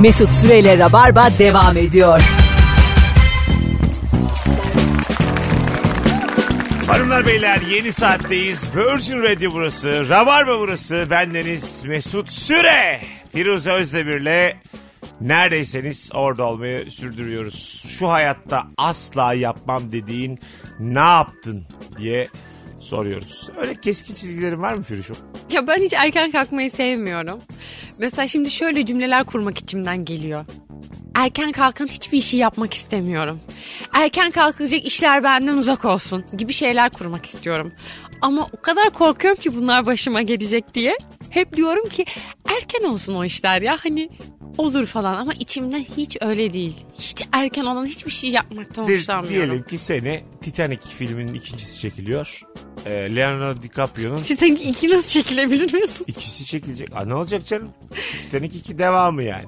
Mesut Süreyle Rabarba devam ediyor. Hanımlar beyler yeni saatteyiz. Virgin Radio burası. Rabarba burası. Bendeniz Mesut Süre. Firuze Özdemir'le neredeyseniz orada olmayı sürdürüyoruz. Şu hayatta asla yapmam dediğin ne yaptın diye soruyoruz. Öyle keskin çizgilerin var mı Firuş'um? Ya ben hiç erken kalkmayı sevmiyorum. Mesela şimdi şöyle cümleler kurmak içimden geliyor. Erken kalkan hiçbir işi yapmak istemiyorum. Erken kalkılacak işler benden uzak olsun gibi şeyler kurmak istiyorum. Ama o kadar korkuyorum ki bunlar başıma gelecek diye. Hep diyorum ki erken olsun o işler ya hani olur falan ama içimden hiç öyle değil. Hiç erken olan hiçbir şey yapmaktan Di- hoşlanmıyorum. diyelim ki seni Titanic filminin ikincisi çekiliyor. Ee, Leonardo DiCaprio'nun Sizin iki nasıl çekilebilir Mesut? ikisi çekilecek. Aa, ne olacak canım? Titanic 2 devamı yani.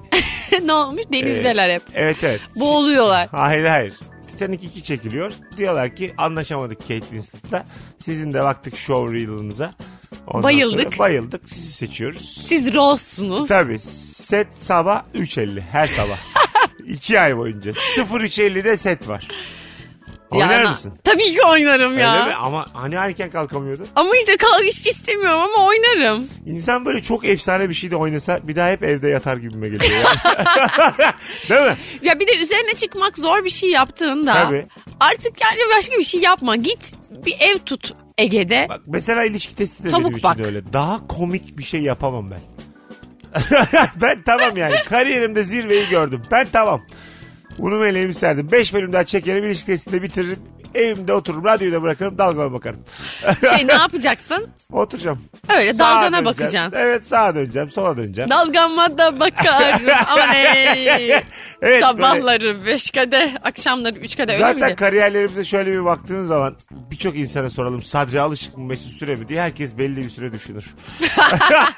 ne olmuş? Denizdeler hep. Evet evet. Boğuluyorlar. Hayır hayır. Titanic 2 çekiliyor. Diyorlar ki anlaşamadık Kate Winslet'la. Sizin de baktık showreel'ınıza. Ondan Bayıldık. sonra Bayıldık. Sizi seçiyoruz. Siz Rose'sunuz. Tabii set sabah 3.50 her sabah. 2 ay boyunca. 03.50'de set var. Oynar Yani- mısın? Tabii ki oynarım ya. Öyle mi? Ama hani erken kalkamıyordu. Ama işte kalk hiç istemiyorum ama oynarım. İnsan böyle çok efsane bir şey de oynasa bir daha hep evde yatar gibime geliyor. yani. Değil mi? Ya bir de üzerine çıkmak zor bir şey yaptığında. Tabii. Artık yani başka bir şey yapma. Git bir ev tut Ege'de. Bak mesela ilişki testi de Tavuk benim için bak. öyle. Daha komik bir şey yapamam ben. ben tamam yani. Kariyerimde zirveyi gördüm. Ben tamam. Bunu meleğimi serdim. 5 bölüm daha çekerim. ilişki testini de bitiririm. Evimde otururum. Radyoyu da bırakırım. Dalgama bakarım. Şey ne yapacaksın? Oturacağım. Öyle Sağa E, dalgana döneceğim. bakacaksın. Evet sağa döneceğim. Sola döneceğim. Dalgama da bakarım. Aman ey. Evet, Sabahları beş kade, akşamları üç kade öyle Zaten miydi? kariyerlerimize şöyle bir baktığın zaman birçok insana soralım Sadri Alışık mı Mesut Süre mi diye herkes belli bir süre düşünür.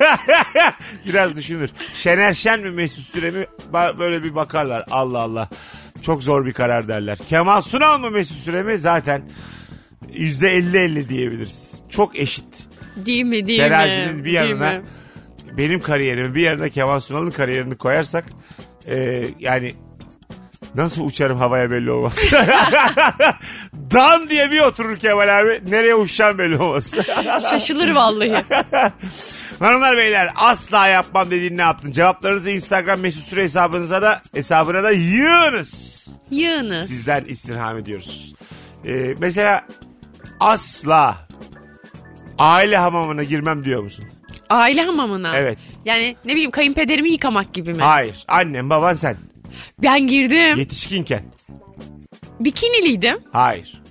Biraz düşünür. Şener Şen mi Mesut Süre mi Ba- böyle bir bakarlar Allah Allah. Çok zor bir karar derler. Kemal Sunal mı Mesut Süre mi zaten %50-50 diyebiliriz. Çok eşit. Değil mi değil mi? Terazinin bir Değil yanına mi? benim kariyerimi bir yanına Kemal Sunal'ın kariyerini koyarsak e, yani nasıl uçarım havaya belli olmaz. Dan diye bir oturur Kemal abi. Nereye uçacağım belli olmaz. Şaşılır vallahi. Hanımlar beyler asla yapmam dediğin ne yaptın? Cevaplarınızı Instagram mesut süre hesabınıza da hesabına da yığınız. Yığını. Sizden istirham ediyoruz. E, mesela asla aile hamamına girmem diyor musun? Aile hamamına. Evet. Yani ne bileyim kayınpederimi yıkamak gibi mi? Hayır. Annem baban sen. Ben girdim. Yetişkinken. Bikiniliydim. Hayır.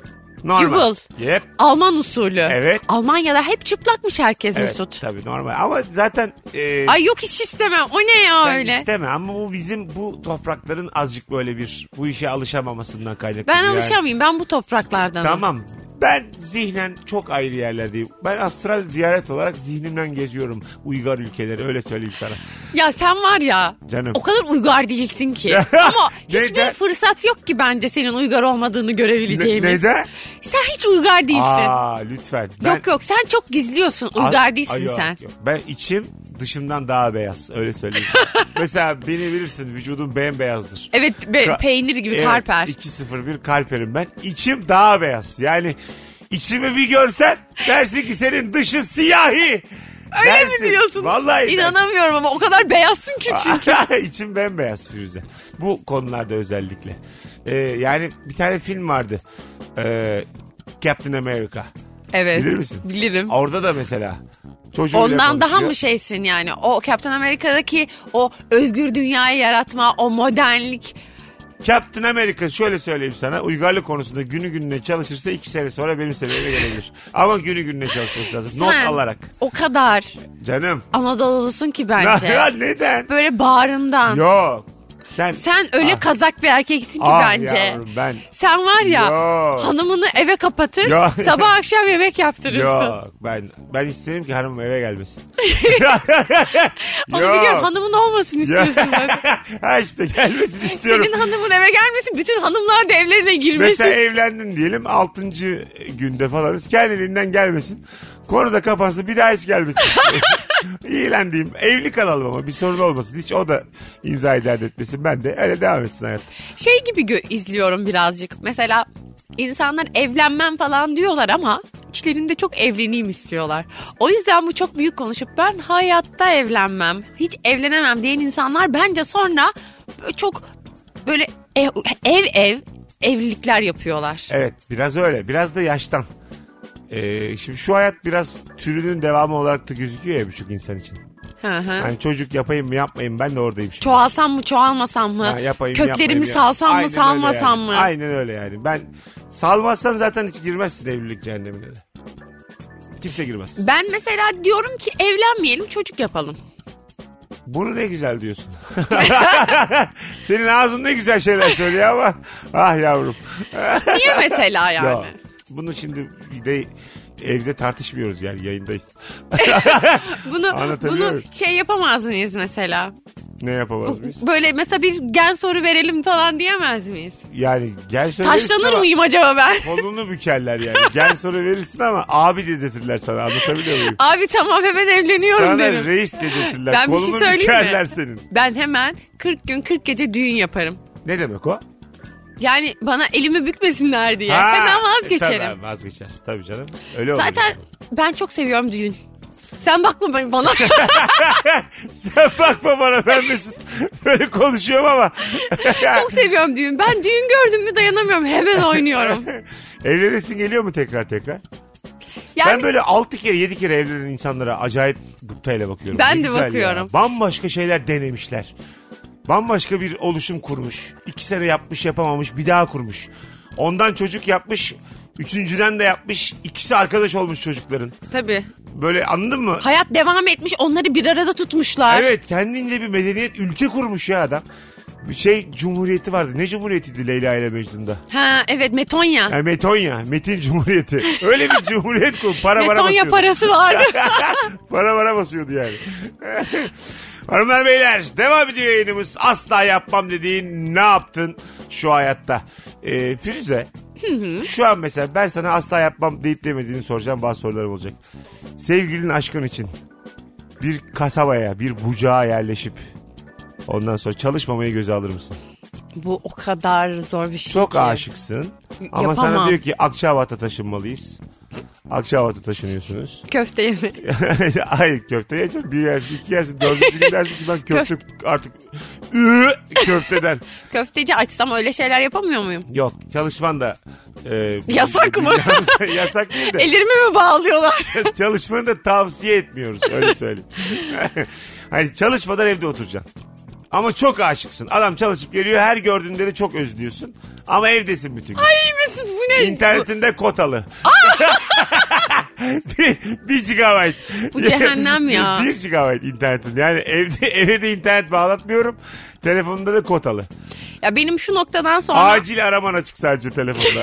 Normal. Yep. Alman usulü. Evet. Almanya'da hep çıplakmış herkes Evet, Mesut. tabii normal ama zaten e, Ay yok hiç istemem. O ne ya sen öyle? isteme ama bu bizim bu toprakların azıcık böyle bir bu işe alışamamasından kaynaklı. ben Yani. alışamayayım. Ben bu topraklardan. Tamam. Ben zihnen çok ayrı yerlerdeyim. Ben astral ziyaret olarak zihnimden geziyorum uygar ülkeleri öyle söyleyeyim sana. Ya sen var ya. Canım. O kadar uygar değilsin ki. Ama hiçbir Neden? fırsat yok ki bence senin uygar olmadığını görebileceğimiz. Ne- neden? Sen hiç uygar değilsin. Aa lütfen. Ben- Yok yok sen çok gizliyorsun. Ay- Uygar değilsin Ay, yok, sen. yok. Ben içim dışımdan daha beyaz öyle söyleyeyim. sana. Mesela beni bilirsin vücudum bembeyazdır. Evet be- Ka- peynir gibi Evet, karper. 2-0-1 kalperim ben. İçim daha beyaz. Yani içimi bir görsen dersin ki senin dışı siyahi. Öyle dersin. mi diyorsun? Vallahi dersin. İnanamıyorum ama o kadar beyazsın ki çünkü. İçim bembeyaz Firuze. Bu konularda özellikle. Ee, yani bir tane film vardı. Ee, Captain America. Evet. Bilir misin? Bilirim. Orada da mesela çocuğuyla Ondan daha konuşuyor. mı şeysin yani? O Captain Amerika'daki o özgür dünyayı yaratma, o modernlik. Captain America şöyle söyleyeyim sana uygarlık konusunda günü gününe çalışırsa iki sene sonra benim seviyeme gelebilir. Ama günü gününe çalışması lazım. Not Sen alarak. O kadar Canım. Anadolu'lusun ki bence. Ya neden? Böyle bağrından. Yok. Sen, Sen öyle Ah, kazak bir erkeksin ki ah bence. yavrum ben. Sen var ya Yok. hanımını eve kapatır, Yok. sabah akşam yemek yaptırırsın. Yok ben ben isterim ki hanımım eve gelmesin. Onu Yok. biliyorum hanımın olmasın istiyorsun. bak. ha işte gelmesin istiyorum. Senin hanımın eve gelmesin, bütün hanımlar da evlerine girmesin. Mesela evlendin diyelim 6. günde falanız kendiliğinden gelmesin. Konu da kapansın bir daha hiç gelmesin. İğlendiğim. Evli kalalım ama bir sorun olmasın. Hiç o da imzayı dert etmesin. Ben de öyle devam etsin hayat. Şey gibi gö- izliyorum birazcık. Mesela insanlar evlenmem falan diyorlar ama içlerinde çok evleneyim istiyorlar. O yüzden bu çok büyük konuşup ben hayatta evlenmem, hiç evlenemem diyen insanlar bence sonra böyle çok böyle ev ev, ev evlilikler yapıyorlar. Evet biraz öyle. Biraz da yaştan. Ee, şimdi şu hayat biraz türünün devamı olarak da gözüküyor ya birçok insan için. Hı hı. Hani çocuk yapayım mı yapmayayım mı? ben de oradayım şimdi. Çoğalsam mı çoğalmasam mı? Ha, yapayım, yapmayayım Köklerimi ya. salsam Aynen mı öyle salmasam yani. mı? Aynen öyle yani. Ben salmazsan zaten hiç girmezsin evlilik cehennemine de. Kimse girmez. Ben mesela diyorum ki evlenmeyelim çocuk yapalım. Bunu ne güzel diyorsun. Senin ağzın ne güzel şeyler söylüyor ama ah yavrum. Niye mesela yani? Ya, bunu şimdi bir de evde tartışmıyoruz yani yayındayız. Bunu Anlatabiliyor bunu muyum? şey yapamaz mıyız mesela? Ne yapamaz mıyız? Böyle mesela bir gen soru verelim falan diyemez miyiz? Yani gel söyle. Taşlanır mıyım acaba ben? Kolunu bükerler yani. Gel soru verirsin ama abi dedirtirler sana anlatabiliyor muyum? Abi tamam hemen evleniyorum sana derim. reis dedirtirler. Ben bir şey Kolunu söyleyeyim mi? bükerler senin. Ben hemen 40 gün 40 gece düğün yaparım. Ne demek o? Yani bana elimi bükmesinler diye. Ha, hemen vazgeçerim. Tabii vazgeçersin tabii canım. Öyle olur. Zaten ben çok seviyorum düğün. Sen bakma ben- bana. Sen bakma bana ben Mesut böyle konuşuyorum ama. çok seviyorum düğün. Ben düğün gördüm mü dayanamıyorum. Hemen oynuyorum. Evlenesin geliyor mu tekrar tekrar? Yani Ben böyle 6 kere 7 kere evlenen insanlara acayip gıptayla bakıyorum. Ben Ne de güzel ya. bakıyorum. Bambaşka şeyler denemişler. Bambaşka bir oluşum kurmuş. 2 sene yapmış yapamamış bir daha kurmuş. Ondan çocuk yapmış. Üçüncüden de yapmış. İkisi arkadaş olmuş çocukların. tabii. Böyle anladın mı? Hayat devam etmiş. Onları bir arada tutmuşlar. Evet kendince bir medeniyet ülke kurmuş ya adam. Bir şey cumhuriyeti vardı. Ne cumhuriyetiydi Leyla ile Mecnun'da? Ha evet Metonya. Ha, Metonya, Metin Cumhuriyeti. Öyle bir cumhuriyet kur. Para para Metonya basıyordu. parası vardı. Para para basıyordu yani. Hanımlar beyler devam ediyor yayınımız. Asla yapmam dediğin ne yaptın şu hayatta? Ee, Firuze şu an mesela ben sana asla yapmam deyip demediğini soracağım bazı sorularım olacak. Sevgilin aşkın için bir kasabaya bir bucağa yerleşip ondan sonra çalışmamayı göze alır mısın? Bu o kadar zor bir şey Çok ki. aşıksın ama sana Yapamam. diyor ki Akçabat'a taşınmalıyız. Akçabat'a taşınıyorsunuz. Köfte yeme. Hayır köfte yiyeceksin. Bir yersin, iki yersin, dördüncü gün dersin ki ben köfte artık Ü, köfteden. Köfteci açsam öyle şeyler yapamıyor muyum? Yok çalışman da e, Yasak mı? yasak değil de Ellerimi mi bağlıyorlar? çalışmanı da tavsiye etmiyoruz öyle söyleyeyim. hani çalışmadan evde oturacaksın. Ama çok aşıksın. Adam çalışıp geliyor her gördüğünde de çok özlüyorsun. Ama evdesin bütün gün. Ay Mesut bu ne? İnternetinde kotalı. bir, bir gigabyte. Bu cehennem ya. bir gigabyte internetin. Yani evde eve de internet bağlatmıyorum. Telefonda da kotalı. Ya benim şu noktadan sonra Acil araman açık sadece telefonda.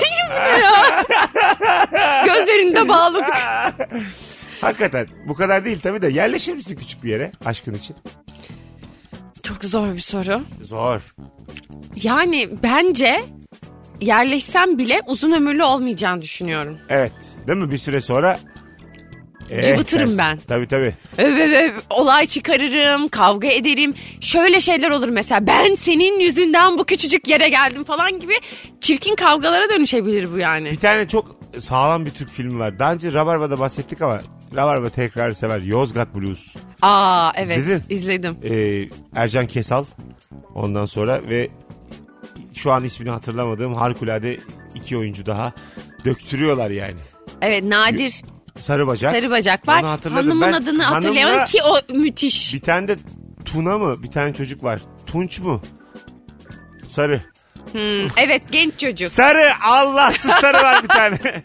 gözlerinde bağladık. Hakikaten bu kadar değil tabii de yerleşir misin küçük bir yere aşkın için? Çok zor bir soru. Zor. Yani bence yerleşsem bile uzun ömürlü olmayacağını düşünüyorum. Evet. Değil mi? Bir süre sonra eh Cıvıtırım dersin. ben. Tabii tabii. Öv öv öv, olay çıkarırım, kavga ederim. Şöyle şeyler olur mesela. Ben senin yüzünden bu küçücük yere geldim falan gibi çirkin kavgalara dönüşebilir bu yani. Bir tane çok sağlam bir Türk filmi var. Daha önce Rabarba'da bahsettik ama Rabarba tekrar sever. Yozgat Blues. Aa evet İzledin. izledim. Ee, Ercan Kesal ondan sonra ve şu an ismini hatırlamadığım harikulade iki oyuncu daha döktürüyorlar yani. Evet Nadir Sarı bacak. Sarı Bacak var. Onu hatırladım. Hanımın Ben adını hanımla- hatırlayamadım ki o müthiş. Bir tane de Tuna mı? Bir tane çocuk var. Tunç mu? Sarı. Hmm, evet genç çocuk. Sarı Allahsız sarı var bir tane.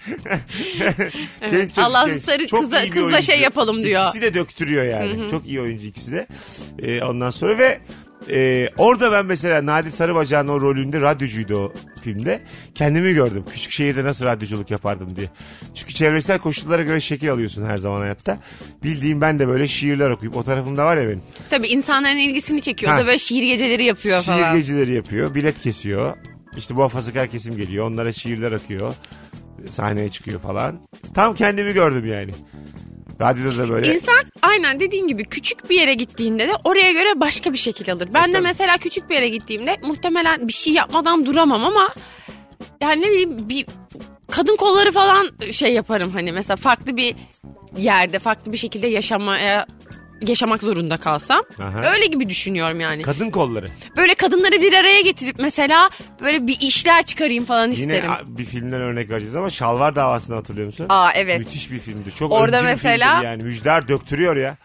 Genç çocuk, Allahsız genç. sarı Çok kıza- iyi bir kızla oyuncu. şey yapalım diyor. İkisi de döktürüyor yani. Çok iyi oyuncu ikisi de. Ee, ondan sonra ve e, orada ben mesela Nadi Sarıbacak'ın o rolünde radyocuydu o filmde. Kendimi gördüm. Küçük şehirde nasıl radyoculuk yapardım diye. Çünkü çevresel koşullara göre şekil alıyorsun her zaman hayatta. Bildiğim ben de böyle şiirler okuyup o tarafımda var ya benim. Tabii insanların ilgisini çekiyor. O Ha. da böyle şiir geceleri yapıyor Şiir falan. geceleri yapıyor. Bilet kesiyor. İşte muhafazakar kesim geliyor. Onlara şiirler akıyor. Sahneye çıkıyor falan. Tam kendimi gördüm yani. Radyoda da böyle. İnsan aynen dediğin gibi küçük bir yere gittiğinde de oraya göre başka bir şekil alır. Ben de tabii. mesela küçük bir yere gittiğimde muhtemelen bir şey yapmadan duramam ama yani ne bileyim bir kadın kolları falan şey yaparım hani mesela farklı bir yerde farklı bir şekilde yaşamaya yaşamak zorunda kalsam. Aha. Öyle gibi düşünüyorum yani. Kadın kolları. Böyle kadınları bir araya getirip mesela böyle bir işler çıkarayım falan Yine isterim. a- bir filmden örnek vereceğiz ama Şalvar davasını hatırlıyor musun? Aa evet. Müthiş bir filmdi. Çok Orada Orada mesela mesela- yani müjder döktürüyor ya.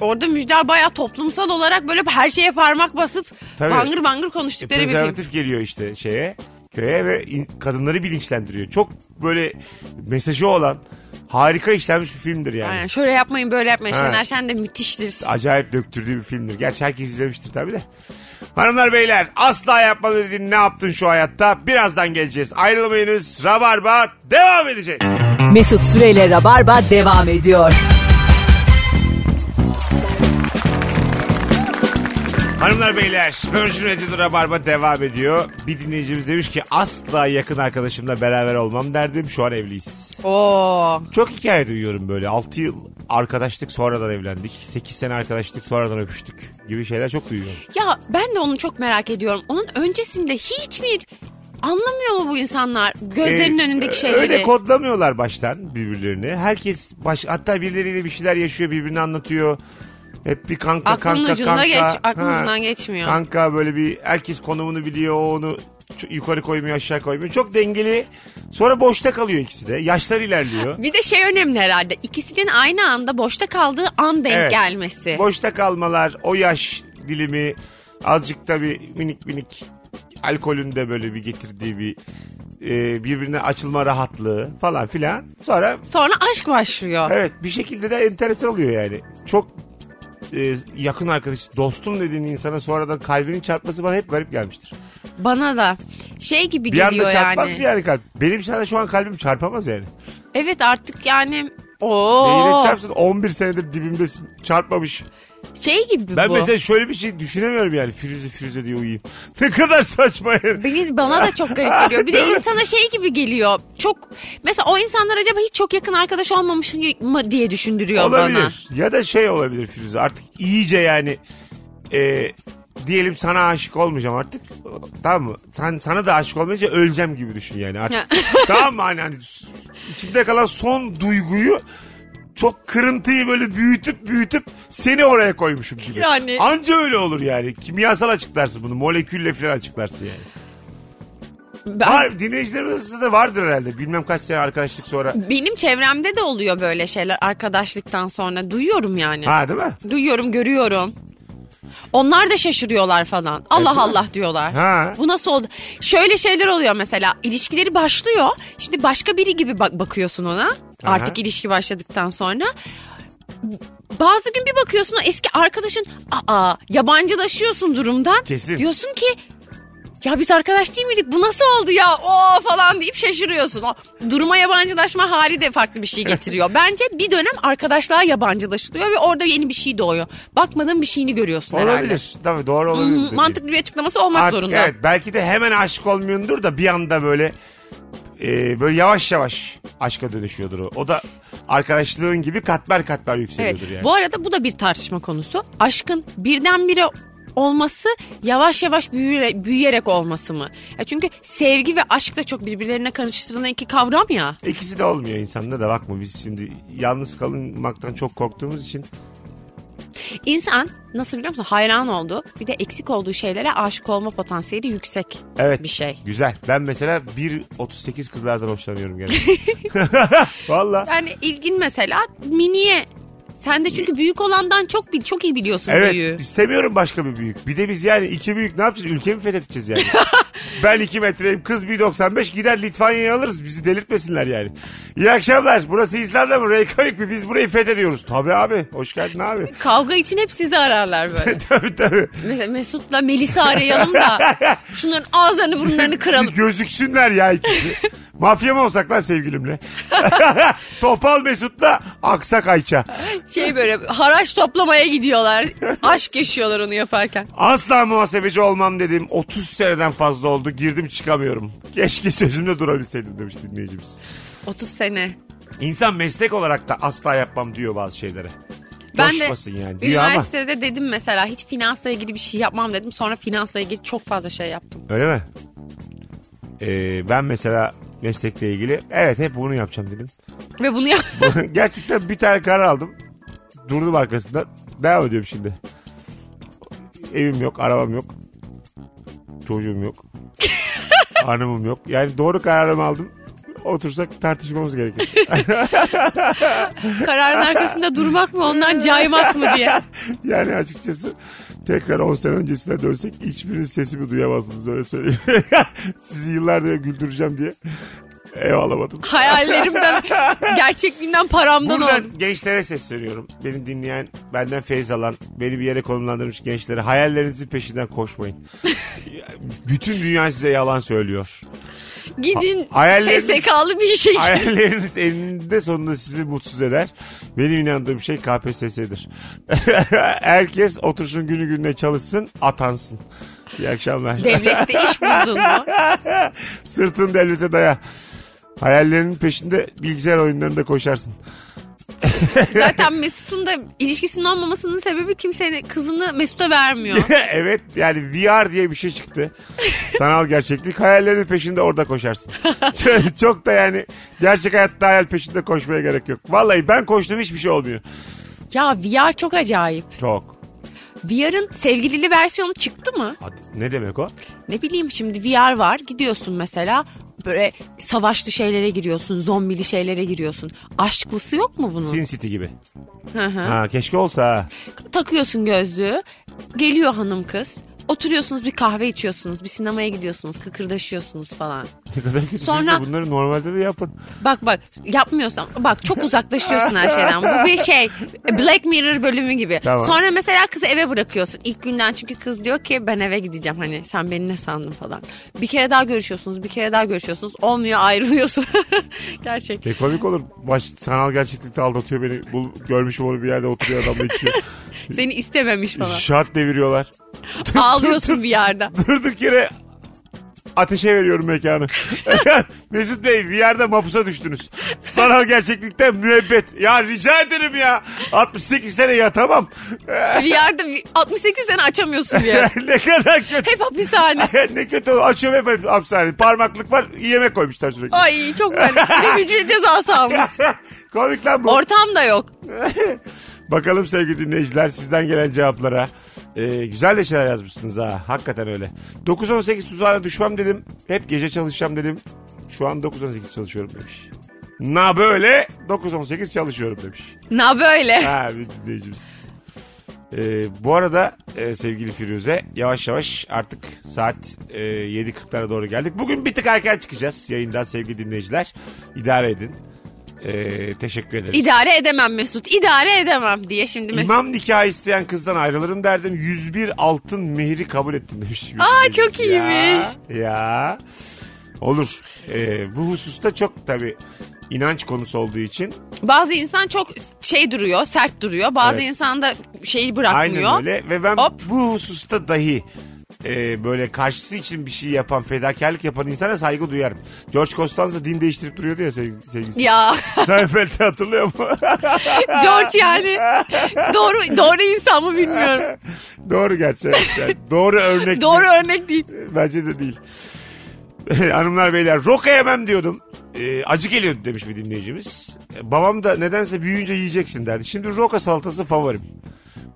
Orada Müjdar bayağı toplumsal olarak böyle her şeye parmak basıp Tabii. bangır bangır konuştukları bir film. Prezervatif geliyor işte şeye köye ve in- kadınları bilinçlendiriyor. Çok böyle mesajı olan harika işlenmiş bir filmdir yani. Aynen. Şöyle yapmayın böyle yapmayın. Ha. Şener Şen de müthiştir. Acayip döktürdüğü bir filmdir. Gerçi herkes izlemiştir tabii de. Hanımlar beyler asla yapma dediğin ne yaptın şu hayatta? Birazdan geleceğiz. Ayrılmayınız. Rabarba devam edecek. Mesut Süreyle Rabarba devam ediyor. Hanımlar beyler Virgin Radio Rabarba devam ediyor. Bir dinleyicimiz demiş ki asla yakın arkadaşımla beraber olmam derdim. Şu an evliyiz. Oo. Çok hikaye duyuyorum böyle. 6 yıl arkadaşlık sonradan evlendik. 8 sene arkadaşlık sonradan öpüştük gibi şeyler çok duyuyorum. Ya ben de onu çok merak ediyorum. Onun öncesinde hiçbir anlamıyor mu bu insanlar gözlerinin Ee, önündeki ö- şeyleri? Öyle kodlamıyorlar baştan birbirlerini. Herkes baş, hatta birileriyle bir şeyler yaşıyor birbirine anlatıyor. Hep bir kanka Aklının kanka ucunda kanka. geç, aklının Ha, ucundan geçmiyor. Kanka böyle bir herkes konumunu biliyor o onu ç- yukarı koymuyor aşağı koymuyor. Çok dengeli. Sonra boşta kalıyor ikisi de. Yaşlar ilerliyor. Bir de şey önemli herhalde. İkisinin aynı anda boşta kaldığı an denk Evet. gelmesi. Boşta kalmalar, o yaş dilimi, azıcık da bir minik minik alkolün de böyle bir getirdiği bir e, birbirine açılma rahatlığı falan filan. Sonra Sonra aşk başlıyor. evet bir şekilde de enteresan oluyor yani. Çok e, yakın arkadaş, dostum dediğin insana sonradan kalbinin çarpması bana hep garip gelmiştir. Bana da şey gibi Bir geliyor anda çarpmaz yani. bir yani kalp. Benim sana şu an kalbim çarpamaz yani. Evet artık yani Neyine o çarpsın 11 senedir dibimdesin çarpmamış. şey gibi Ben bu. mesela şöyle bir şey düşünemiyorum yani. Firuze Firuze diye uyuyayım. Ne kadar saçma yani. Beni- bana da çok garip geliyor. Bir de insana şey gibi geliyor. Çok mesela o insanlar acaba hiç çok yakın arkadaş olmamış mı diye düşündürüyor bana. Olabilir. Ya da şey olabilir Firuze artık iyice yani e, diyelim sana aşık olmayacağım artık. Tamam mı? Sen, sana da aşık olmayınca öleceğim gibi düşün yani artık. tamam mı? Hani, hani içimde kalan son duyguyu çok kırıntıyı böyle büyütüp büyütüp seni oraya koymuşum gibi. Yani. Anca öyle olur yani. Kimyasal açıklarsın bunu. Molekülle falan açıklarsın yani. Ben- Var, dinleyicilerimiz arasında da vardır herhalde. Bilmem kaç sene arkadaşlık sonra. benim çevremde de oluyor böyle şeyler arkadaşlıktan sonra duyuyorum yani. Ha değil mi? Duyuyorum, görüyorum. Onlar da şaşırıyorlar falan. Allah Allah diyorlar. Ha. Bu nasıl oldu? Şöyle şeyler oluyor mesela. İlişkileri başlıyor. Şimdi başka biri gibi bak bakıyorsun ona. Artık ilişki başladıktan sonra. Bazı gün bir bakıyorsun o eski arkadaşın aa yabancılaşıyorsun durumdan. Kesin. Diyorsun ki ya biz arkadaş değil miydik? Bu nasıl oldu ya? O falan deyip şaşırıyorsun. O duruma yabancılaşma hali de farklı bir şey getiriyor. Bence bir dönem arkadaşlığa yabancılaşılıyor ve orada yeni bir şey doğuyor. Bakmadığın bir şeyini görüyorsun herhalde. Olabilir. Tabii doğru olabilir. Hı, dediğin. Hmm, Mantıklı bir açıklaması olmak Artık zorunda. Evet belki de hemen aşık olmuyordur da bir anda böyle e, böyle yavaş yavaş aşka dönüşüyordur o. O da arkadaşlığın gibi katmer katmer Evet. yükseliyordur yani. Bu arada bu da bir tartışma konusu. Aşkın birdenbire olması yavaş yavaş büyüyerek, büyüyerek olması mı? Ya çünkü sevgi ve aşk da çok birbirlerine karıştırılan iki kavram ya. İkisi de olmuyor insanda da bakma biz şimdi yalnız kalınmaktan çok korktuğumuz için İnsan nasıl biliyor musun hayran olduğu bir de eksik olduğu şeylere aşık olma potansiyeli yüksek evet bir şey. güzel. Ben mesela 1.38 kızlardan hoşlanıyorum yani. Valla. Yani ilgin mesela miniye. Sen de çünkü büyük olandan çok bil, çok iyi biliyorsun Evet büyüğü. istemiyorum başka bir büyük. Bir de biz yani iki büyük ne yapacağız? Ülke mi fethedeceğiz yani? ben iki metreyim kız 1.95 gider Litvanya'yı alırız. Bizi delirtmesinler yani. İyi akşamlar burası İzlanda mı? Reykjavik mi? Biz burayı fethediyoruz. Tabii abi hoş geldin abi. Kavga için hep sizi ararlar böyle. tabii tabii. Mesela Mesut'la Melis'i arayalım da şunların ağızlarını burunlarını Bir kıralım. gözüksünler ya ikisi. Mafya mı olsak lan sevgilimle? Topal Mesut'la Aksak Ayça. Şey böyle haraç toplamaya gidiyorlar. Aşk yaşıyorlar onu yaparken. Asla muhasebeci olmam dedim. 30 seneden fazla oldu. Girdim çıkamıyorum. Keşke sözümde durabilseydim demiş dinleyicimiz. 30 sene. İnsan meslek olarak da asla yapmam diyor bazı şeylere. Coşmasın yani. Diyor ama. üniversitede dedim mesela hiç finansla ilgili bir şey yapmam dedim. Sonra finansla ilgili çok fazla şey yaptım. Öyle mi? Ee, ben mesela meslekle ilgili evet hep bunu yapacağım dedim. Ve bunu yap Gerçekten bir tane karar aldım. Durdum arkasından. Devam ediyorum şimdi. Evim yok, arabam yok. Çocuğum yok. Hanımım yok. Yani doğru kararımı aldım. Otursak tartışmamız gerekir. kararın arkasında durmak mı ondan caymak mı diye. Yani açıkçası tekrar 10 sene öncesine dönsek hiçbiriniz sesimi duyamazsınız öyle söyleyeyim. Sizi yıllardır güldüreceğim diye ev alamadım. Hayallerimden, gerçekliğimden paramdan Buradan oldum. gençlere sesleniyorum. Beni dinleyen, benden feyz alan, beni bir yere konumlandırmış gençlere hayallerinizin peşinden koşmayın. Bütün dünya size yalan söylüyor. Gidin hayalleriniz- SSK'lı bir şey. Hayalleriniz eninde sonunda sizi mutsuz eder. Benim inandığım şey KPSS'dir. Herkes otursun günü gününe çalışsın, atansın. İyi akşamlar. Devlette iş buldun mu? Sırtını devlete daya. Hayallerinin peşinde bilgisayar oyunlarında koşarsın. Zaten Mesut'un da ilişkisinin olmamasının sebebi kimsenin kızını Mesut'a vermiyor. evet yani VR diye bir şey çıktı. Sanal gerçeklik. Hayallerinin peşinde orada koşarsın. Ç- Çok da yani gerçek hayatta hayal peşinde koşmaya gerek yok. Vallahi ben koştum hiçbir şey olmuyor. ya VR çok acayip. Çok. VR'ın sevgilili versiyonu çıktı mı? Hadi, ne demek o? Ne bileyim şimdi VR var gidiyorsun mesela böyle savaşlı şeylere giriyorsun, zombili şeylere giriyorsun. Aşklısı yok mu bunun? Sin City gibi. Hı hı. Ha, keşke olsa. ha. Takıyorsun gözlüğü, geliyor hanım kız. Oturuyorsunuz bir kahve içiyorsunuz, bir sinemaya gidiyorsunuz, kıkırdaşıyorsunuz falan. Ne kadar kötü. Sonra- Bunları normalde de yapın. Bak bak yapmıyorsan bak çok uzaklaşıyorsun her şeyden. Bu bir şey Black Mirror bölümü gibi. Tamam. Sonra mesela kızı eve bırakıyorsun ilk günden çünkü kız diyor ki ben eve gideceğim hani sen beni ne sandın falan. Bir kere daha görüşüyorsunuz bir kere daha görüşüyorsunuz olmuyor ayrılıyorsun. Gerçek. E komik olur. Baş, sanal gerçeklikte aldatıyor beni. Bul, görmüşüm onu bir yerde oturuyor adamla içiyor. Seni istememiş falan. Şart deviriyorlar. Ağlıyorsun bir yerde. Durduk yere ateşe veriyorum mekanı. Mesut Bey bir yerde mapusa düştünüz. Sanal gerçeklikte müebbet. Ya rica ederim ya. 68 sene yatamam. Bir yerde bir- 68 sene açamıyorsun bir yerde. ne kadar kötü. Hep hapishane. ne kötü. Açıyorum hep hapishane. Parmaklık var. Yemek koymuşlar sürekli. Ay çok garip. Bir de cezası almış. Komik lan bu. Ortam da yok. Bakalım sevgili dinleyiciler sizden gelen cevaplara. Ee, güzel de şeyler yazmışsınız ha. Hakikaten öyle. 9-18 tuzağına düşmem dedim. Hep gece çalışacağım dedim. Şu an 9-18 çalışıyorum demiş. Na böyle 9-18 çalışıyorum demiş. Na böyle. Ha bir dinleyicimiz. Ee, bu arada e, sevgili Firuze yavaş yavaş artık saat e, 7.40'lara doğru geldik. Bugün bir tık erken çıkacağız yayından sevgili dinleyiciler. İdare edin. Ee, teşekkür ederiz. İdare edemem Mesut. İdare edemem diye şimdi Mesut. İmam nikahı isteyen kızdan ayrılırım derdim. 101 altın mehri kabul ettim demiş. Aa, çok iyiymiş. Ya, ya. olur. Ee, bu hususta çok tabii inanç konusu olduğu için Bazı insan çok şey duruyor, sert duruyor. Bazı Evet. insan da şeyi bırakmıyor. aynen öyle ve ben Hop. bu hususta dahi e, böyle karşısı için bir şey yapan fedakarlık yapan insana saygı duyarım. George Costanza din değiştirip duruyordu ya sevg- sevgilisi. Ya Seinfeld'i hatırlıyor mu? George yani doğru doğru insan mı bilmiyorum. Doğru gerçi. evet. Yani doğru örnek. Doğru örnek değil. Bence de değil. Hanımlar beyler roka yemem diyordum. Ee, acı geliyordu demiş bir dinleyicimiz. Ee, Babam da nedense büyüyünce yiyeceksin derdi. Şimdi roka salatası favorim.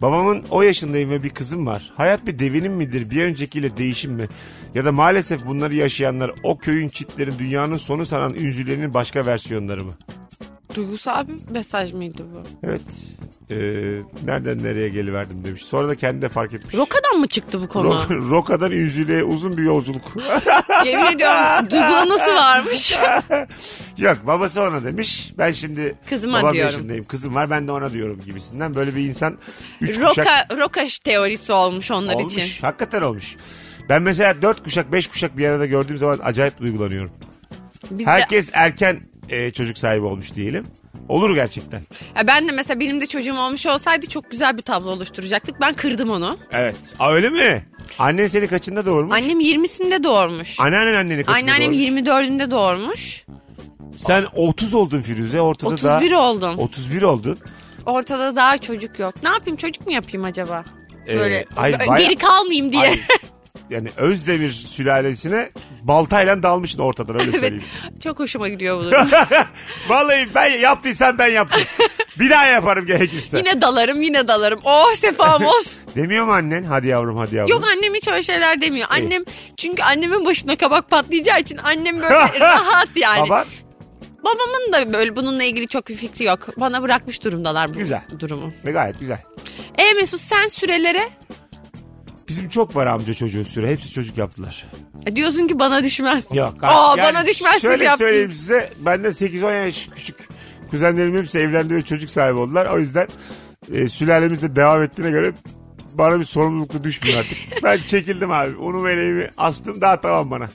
Babamın o yaşındayım ve bir kızım var. Hayat bir devinim midir? Bir öncekiyle değişim mi? Ya da maalesef bunları yaşayanlar o köyün çitlerin dünyanın sonu sanan ünzülerinin başka versiyonları mı? Duygusal bir mesaj mıydı bu? Evet. Ee, nereden nereye geliverdim demiş. Sonra da kendi de fark etmiş. Roka'dan mı çıktı bu konu? Ro- Roka'dan ünzüleye uzun bir yolculuk. Yemin ediyorum duygulanası varmış. Yok babası ona demiş. Ben şimdi Kızıma babam diyorum. yaşındayım. Kızım var ben de ona diyorum gibisinden. Böyle bir insan üç kuşak Roka, Roka teorisi olmuş onlar olmuş. için. Hakikaten olmuş. Ben mesela dört kuşak beş kuşak bir arada gördüğüm zaman acayip duygulanıyorum. Biz de- Herkes erken e, çocuk sahibi olmuş diyelim. Olur gerçekten. Ya ben de mesela benim de çocuğum olmuş olsaydı çok güzel bir tablo oluşturacaktık. Ben kırdım onu. Evet. Aa, öyle mi? Annen seni kaçında doğurmuş? Annem 20'sinde doğurmuş. Anneannen anneni kaçında Anneannem doğurmuş? 24'ünde doğurmuş. Sen 30 oldun Firuze ortada da. 31 oldum. 31 oldun. Ortada daha çocuk yok. Ne yapayım çocuk mu yapayım acaba? Ee, Böyle hayır, böyle baya- geri kalmayayım diye. Ay, yani Özdemir sülalesine baltayla dalmışsın ortadan öyle evet. söyleyeyim. Çok hoşuma gidiyor bu durum. Vallahi ben yaptıysam ben yaptım. Bir daha yaparım gerekirse. yine dalarım yine dalarım. Oh sefam olsun. Demiyor mu annen? Hadi yavrum hadi yavrum. Yok annem hiç öyle şeyler demiyor. Annem çünkü annemin başına kabak patlayacağı için annem böyle rahat yani. Baba Babamın da böyle bununla ilgili çok bir fikri yok. Bana bırakmış durumdalar bu Güzel. durumu. ne gayet güzel. E Mesut sen sürelere Bizim çok var amca çocuğu süre. Hepsi çocuk yaptılar. E, diyorsun ki bana düşmez. Yok. Aa, Yani bana düşmez siz Şöyle söyleyeyim yaptınız. size. Benden 8-10 yaş küçük kuzenlerim hepsi evlendi ve çocuk sahibi oldular. O yüzden e, sülalemiz de devam ettiğine göre bana bir sorumlulukla düşmüyor artık. ben çekildim abi. Onu meleğimi astım daha tamam bana.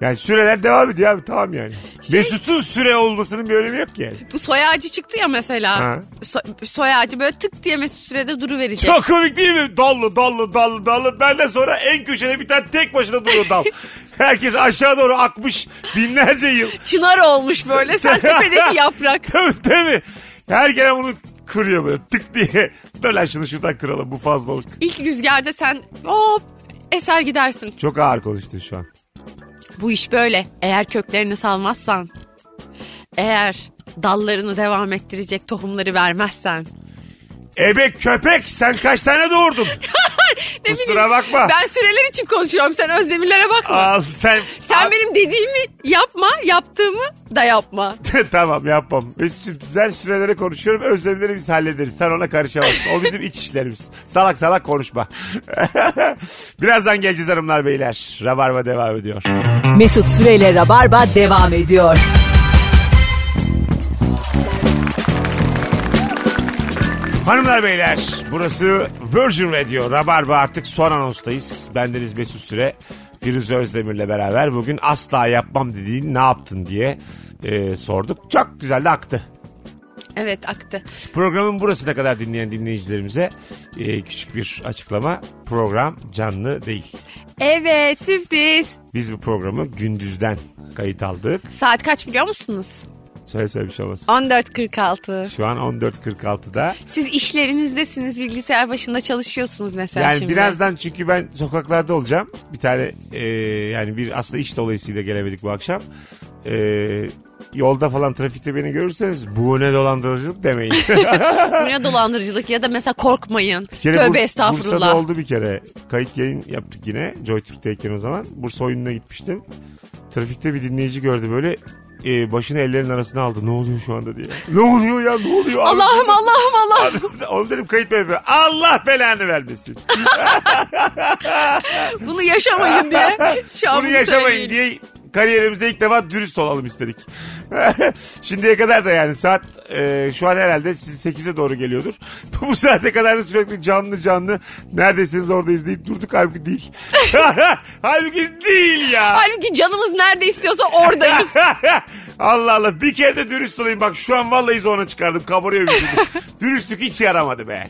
Yani süreler devam ediyor abi tamam yani. Şey- Mesut'un süre olmasının bir önemi yok ki yani. Bu soy ağacı çıktı ya mesela. Ha. So- soy ağacı böyle tık diye Mesut sürede duruverecek. Çok komik değil mi? Dallı dallı dallı dallı. Benden sonra en köşede bir tane tek başına duruyor dal. Herkes aşağı doğru akmış binlerce yıl. Çınar olmuş böyle. Sen tepedeki yaprak. Tabii tabii. Her gelen bunu kırıyor böyle tık diye. Dur lan şunu şuradan kıralım bu fazlalık. İlk rüzgarda sen hop eser gidersin. Çok ağır konuştun şu an. Bu iş böyle. Eğer köklerini salmazsan, eğer dallarını devam ettirecek tohumları vermezsen. Ebe köpek sen kaç tane doğurdun? Ne Kusura bileyim, bakma. Ben süreler için konuşuyorum. Sen özdemirlere bakma. Al sen. Sen benim dediğimi yapma, yaptığımı da yapma. tamam yapmam. Mesut'cum ben sürelere konuşuyorum. Özlemleri biz hallederiz. Sen ona karışamazsın. O bizim iç işlerimiz. Salak salak konuşma. Birazdan geleceğiz hanımlar beyler. Rabarba devam ediyor. Mesut Süreyle Rabarba devam ediyor. Hanımlar beyler burası Virgin Radio Rabarba artık son anonstayız. Bendeniz Mesut Süre Firuze Özdemir'le beraber bugün asla yapmam dediğin ne yaptın diye e, sorduk. Çok güzel de aktı. Evet aktı. Programın burasına kadar dinleyen dinleyicilerimize e, küçük bir açıklama. Program canlı değil. Evet sürpriz. Biz bu programı gündüzden kayıt aldık. Saat kaç biliyor musunuz? Söyle söyle bir şey olmaz. 14.46. Şu an 14.46'da. Siz işlerinizdesiniz, bilgisayar başında çalışıyorsunuz mesela Yani şimdi. birazdan çünkü ben sokaklarda olacağım. Bir tane e, yani bir aslında iş dolayısıyla gelemedik bu akşam. E, yolda falan trafikte beni görürseniz bu ne dolandırıcılık demeyin. Bu ne dolandırıcılık ya da mesela korkmayın. Bir kere Tövbe Bur- estağfurullah. Bursa'da oldu bir kere. Kayıt yayın yaptık yine. JoyTürk'teyken o zaman. Bursa oyununa gitmiştim. Trafikte bir dinleyici gördü böyle. e, başını ellerinin arasına aldı. Ne oluyor şu anda diye. Ne oluyor ya ne oluyor? Allah'ım Allah'ım Allah'ım. Onu dedim kayıt memuru. Allah belanı vermesin. Bunu yaşamayın diye. Şu an Bunu yaşamayın söyleyin. diye kariyerimizde ilk defa dürüst olalım istedik. Şimdiye kadar da yani saat e, şu an herhalde siz 8'e doğru geliyordur. Bu saate kadar da sürekli canlı canlı neredesiniz oradayız deyip durduk halbuki değil. halbuki değil ya. Halbuki canımız nerede istiyorsa oradayız. Allah Allah bir kere de dürüst olayım bak şu an vallahi zona çıkardım kabarıyor vücudum. Dürüstlük hiç yaramadı be.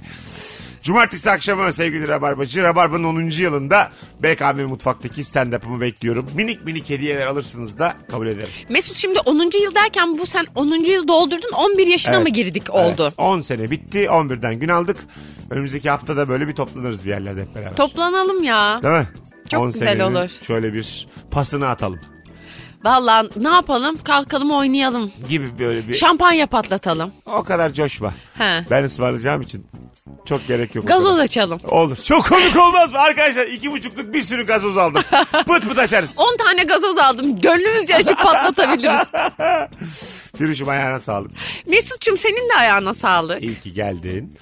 Cumartesi akşamı sevgili Rabarbacı. Rabarba'nın 10. yılında BKM Mutfak'taki stand-up'ımı bekliyorum. Minik minik hediyeler alırsınız da kabul ederim. Mesut şimdi 10. yıl derken bu sen 10. yıl doldurdun 11 yaşına Evet. mı girdik oldu? Evet, 10 sene bitti. 11'den gün aldık. Önümüzdeki haftada böyle bir toplanırız bir yerlerde hep beraber. Toplanalım ya. Değil mi? Çok 10 güzel senenin olur. Şöyle bir pasını atalım Vallahi ne yapalım? Kalkalım oynayalım. gibi böyle bir. Şampanya patlatalım. o kadar coşma. He. Ben ısmarlayacağım için çok gerek yok. o kadar. Gazoz açalım. Olur. Çok komik olmaz mı? Arkadaşlar iki buçukluk bir sürü gazoz aldım. Pıt pıt açarız. 10 tane gazoz aldım. Gönlümüzce açıp patlatabiliriz. Firuş'um ayağına sağlık. Mesut'cum senin de ayağına sağlık. İyi ki geldin.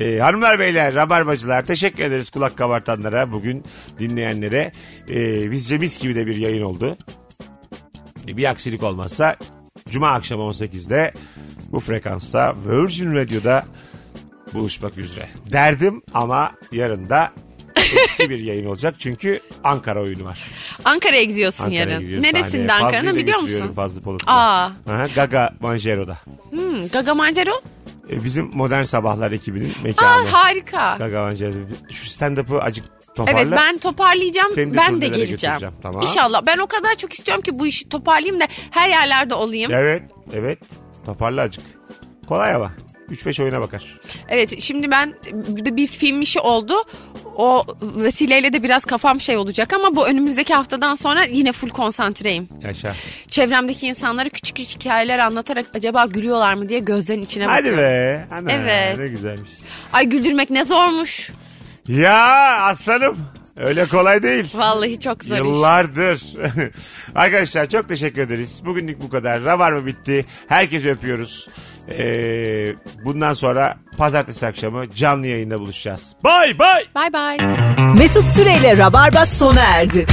Ee, hanımlar beyler rabarbacılar teşekkür ederiz kulak kabartanlara bugün dinleyenlere ee, bizce mis gibi de bir yayın oldu Ee, bir aksilik olmazsa cuma akşam 18'de bu frekansta Virgin Radio'da buluşmak üzere derdim ama yarın da eski bir yayın olacak çünkü Ankara oyunu var Ankara'ya gidiyorsun Ankara'ya yarın. gidiyorum Neresinde sahneye. Fazlı'yı Ankara'nın da biliyor getiriyorum, musun? Fazlı Polat'ı. Aa. Aha, Gaga Manjero'da. Hmm, Gaga Mancero? E, bizim Modern Sabahlar ekibinin mekanı. Aa harika. Gaga Manjero. Şu stand-up'ı acık Toparla. Evet ben toparlayacağım. Seni de ben de turnelere geleceğim. götüreceğim, tamam. İnşallah. Ben o kadar çok istiyorum ki bu işi toparlayayım da her yerlerde olayım. Evet, Evet. Evet. Toparla azıcık. Kolay ama. 3-5 oyuna bakar. şimdi ben bir bir film işi oldu. O vesileyle de biraz kafam şey olacak ama bu önümüzdeki haftadan sonra yine full konsantreyim. Yaşa. Çevremdeki insanlara küçük küçük hikayeler anlatarak acaba gülüyorlar mı diye gözlerin içine Hadi bakıyorum. be. Ana, Evet. Ne güzelmiş. Ay güldürmek ne zormuş. Ya aslanım. Öyle kolay değil. Vallahi çok zor iş. Yıllardır. Arkadaşlar çok teşekkür ederiz. Bugünlük bu kadar. Rabar mı bitti? Herkesi öpüyoruz. Ee, bundan sonra pazartesi akşamı canlı yayında buluşacağız. Bay bay. Bay bay. Mesut Süreyle Rabarba sona erdi.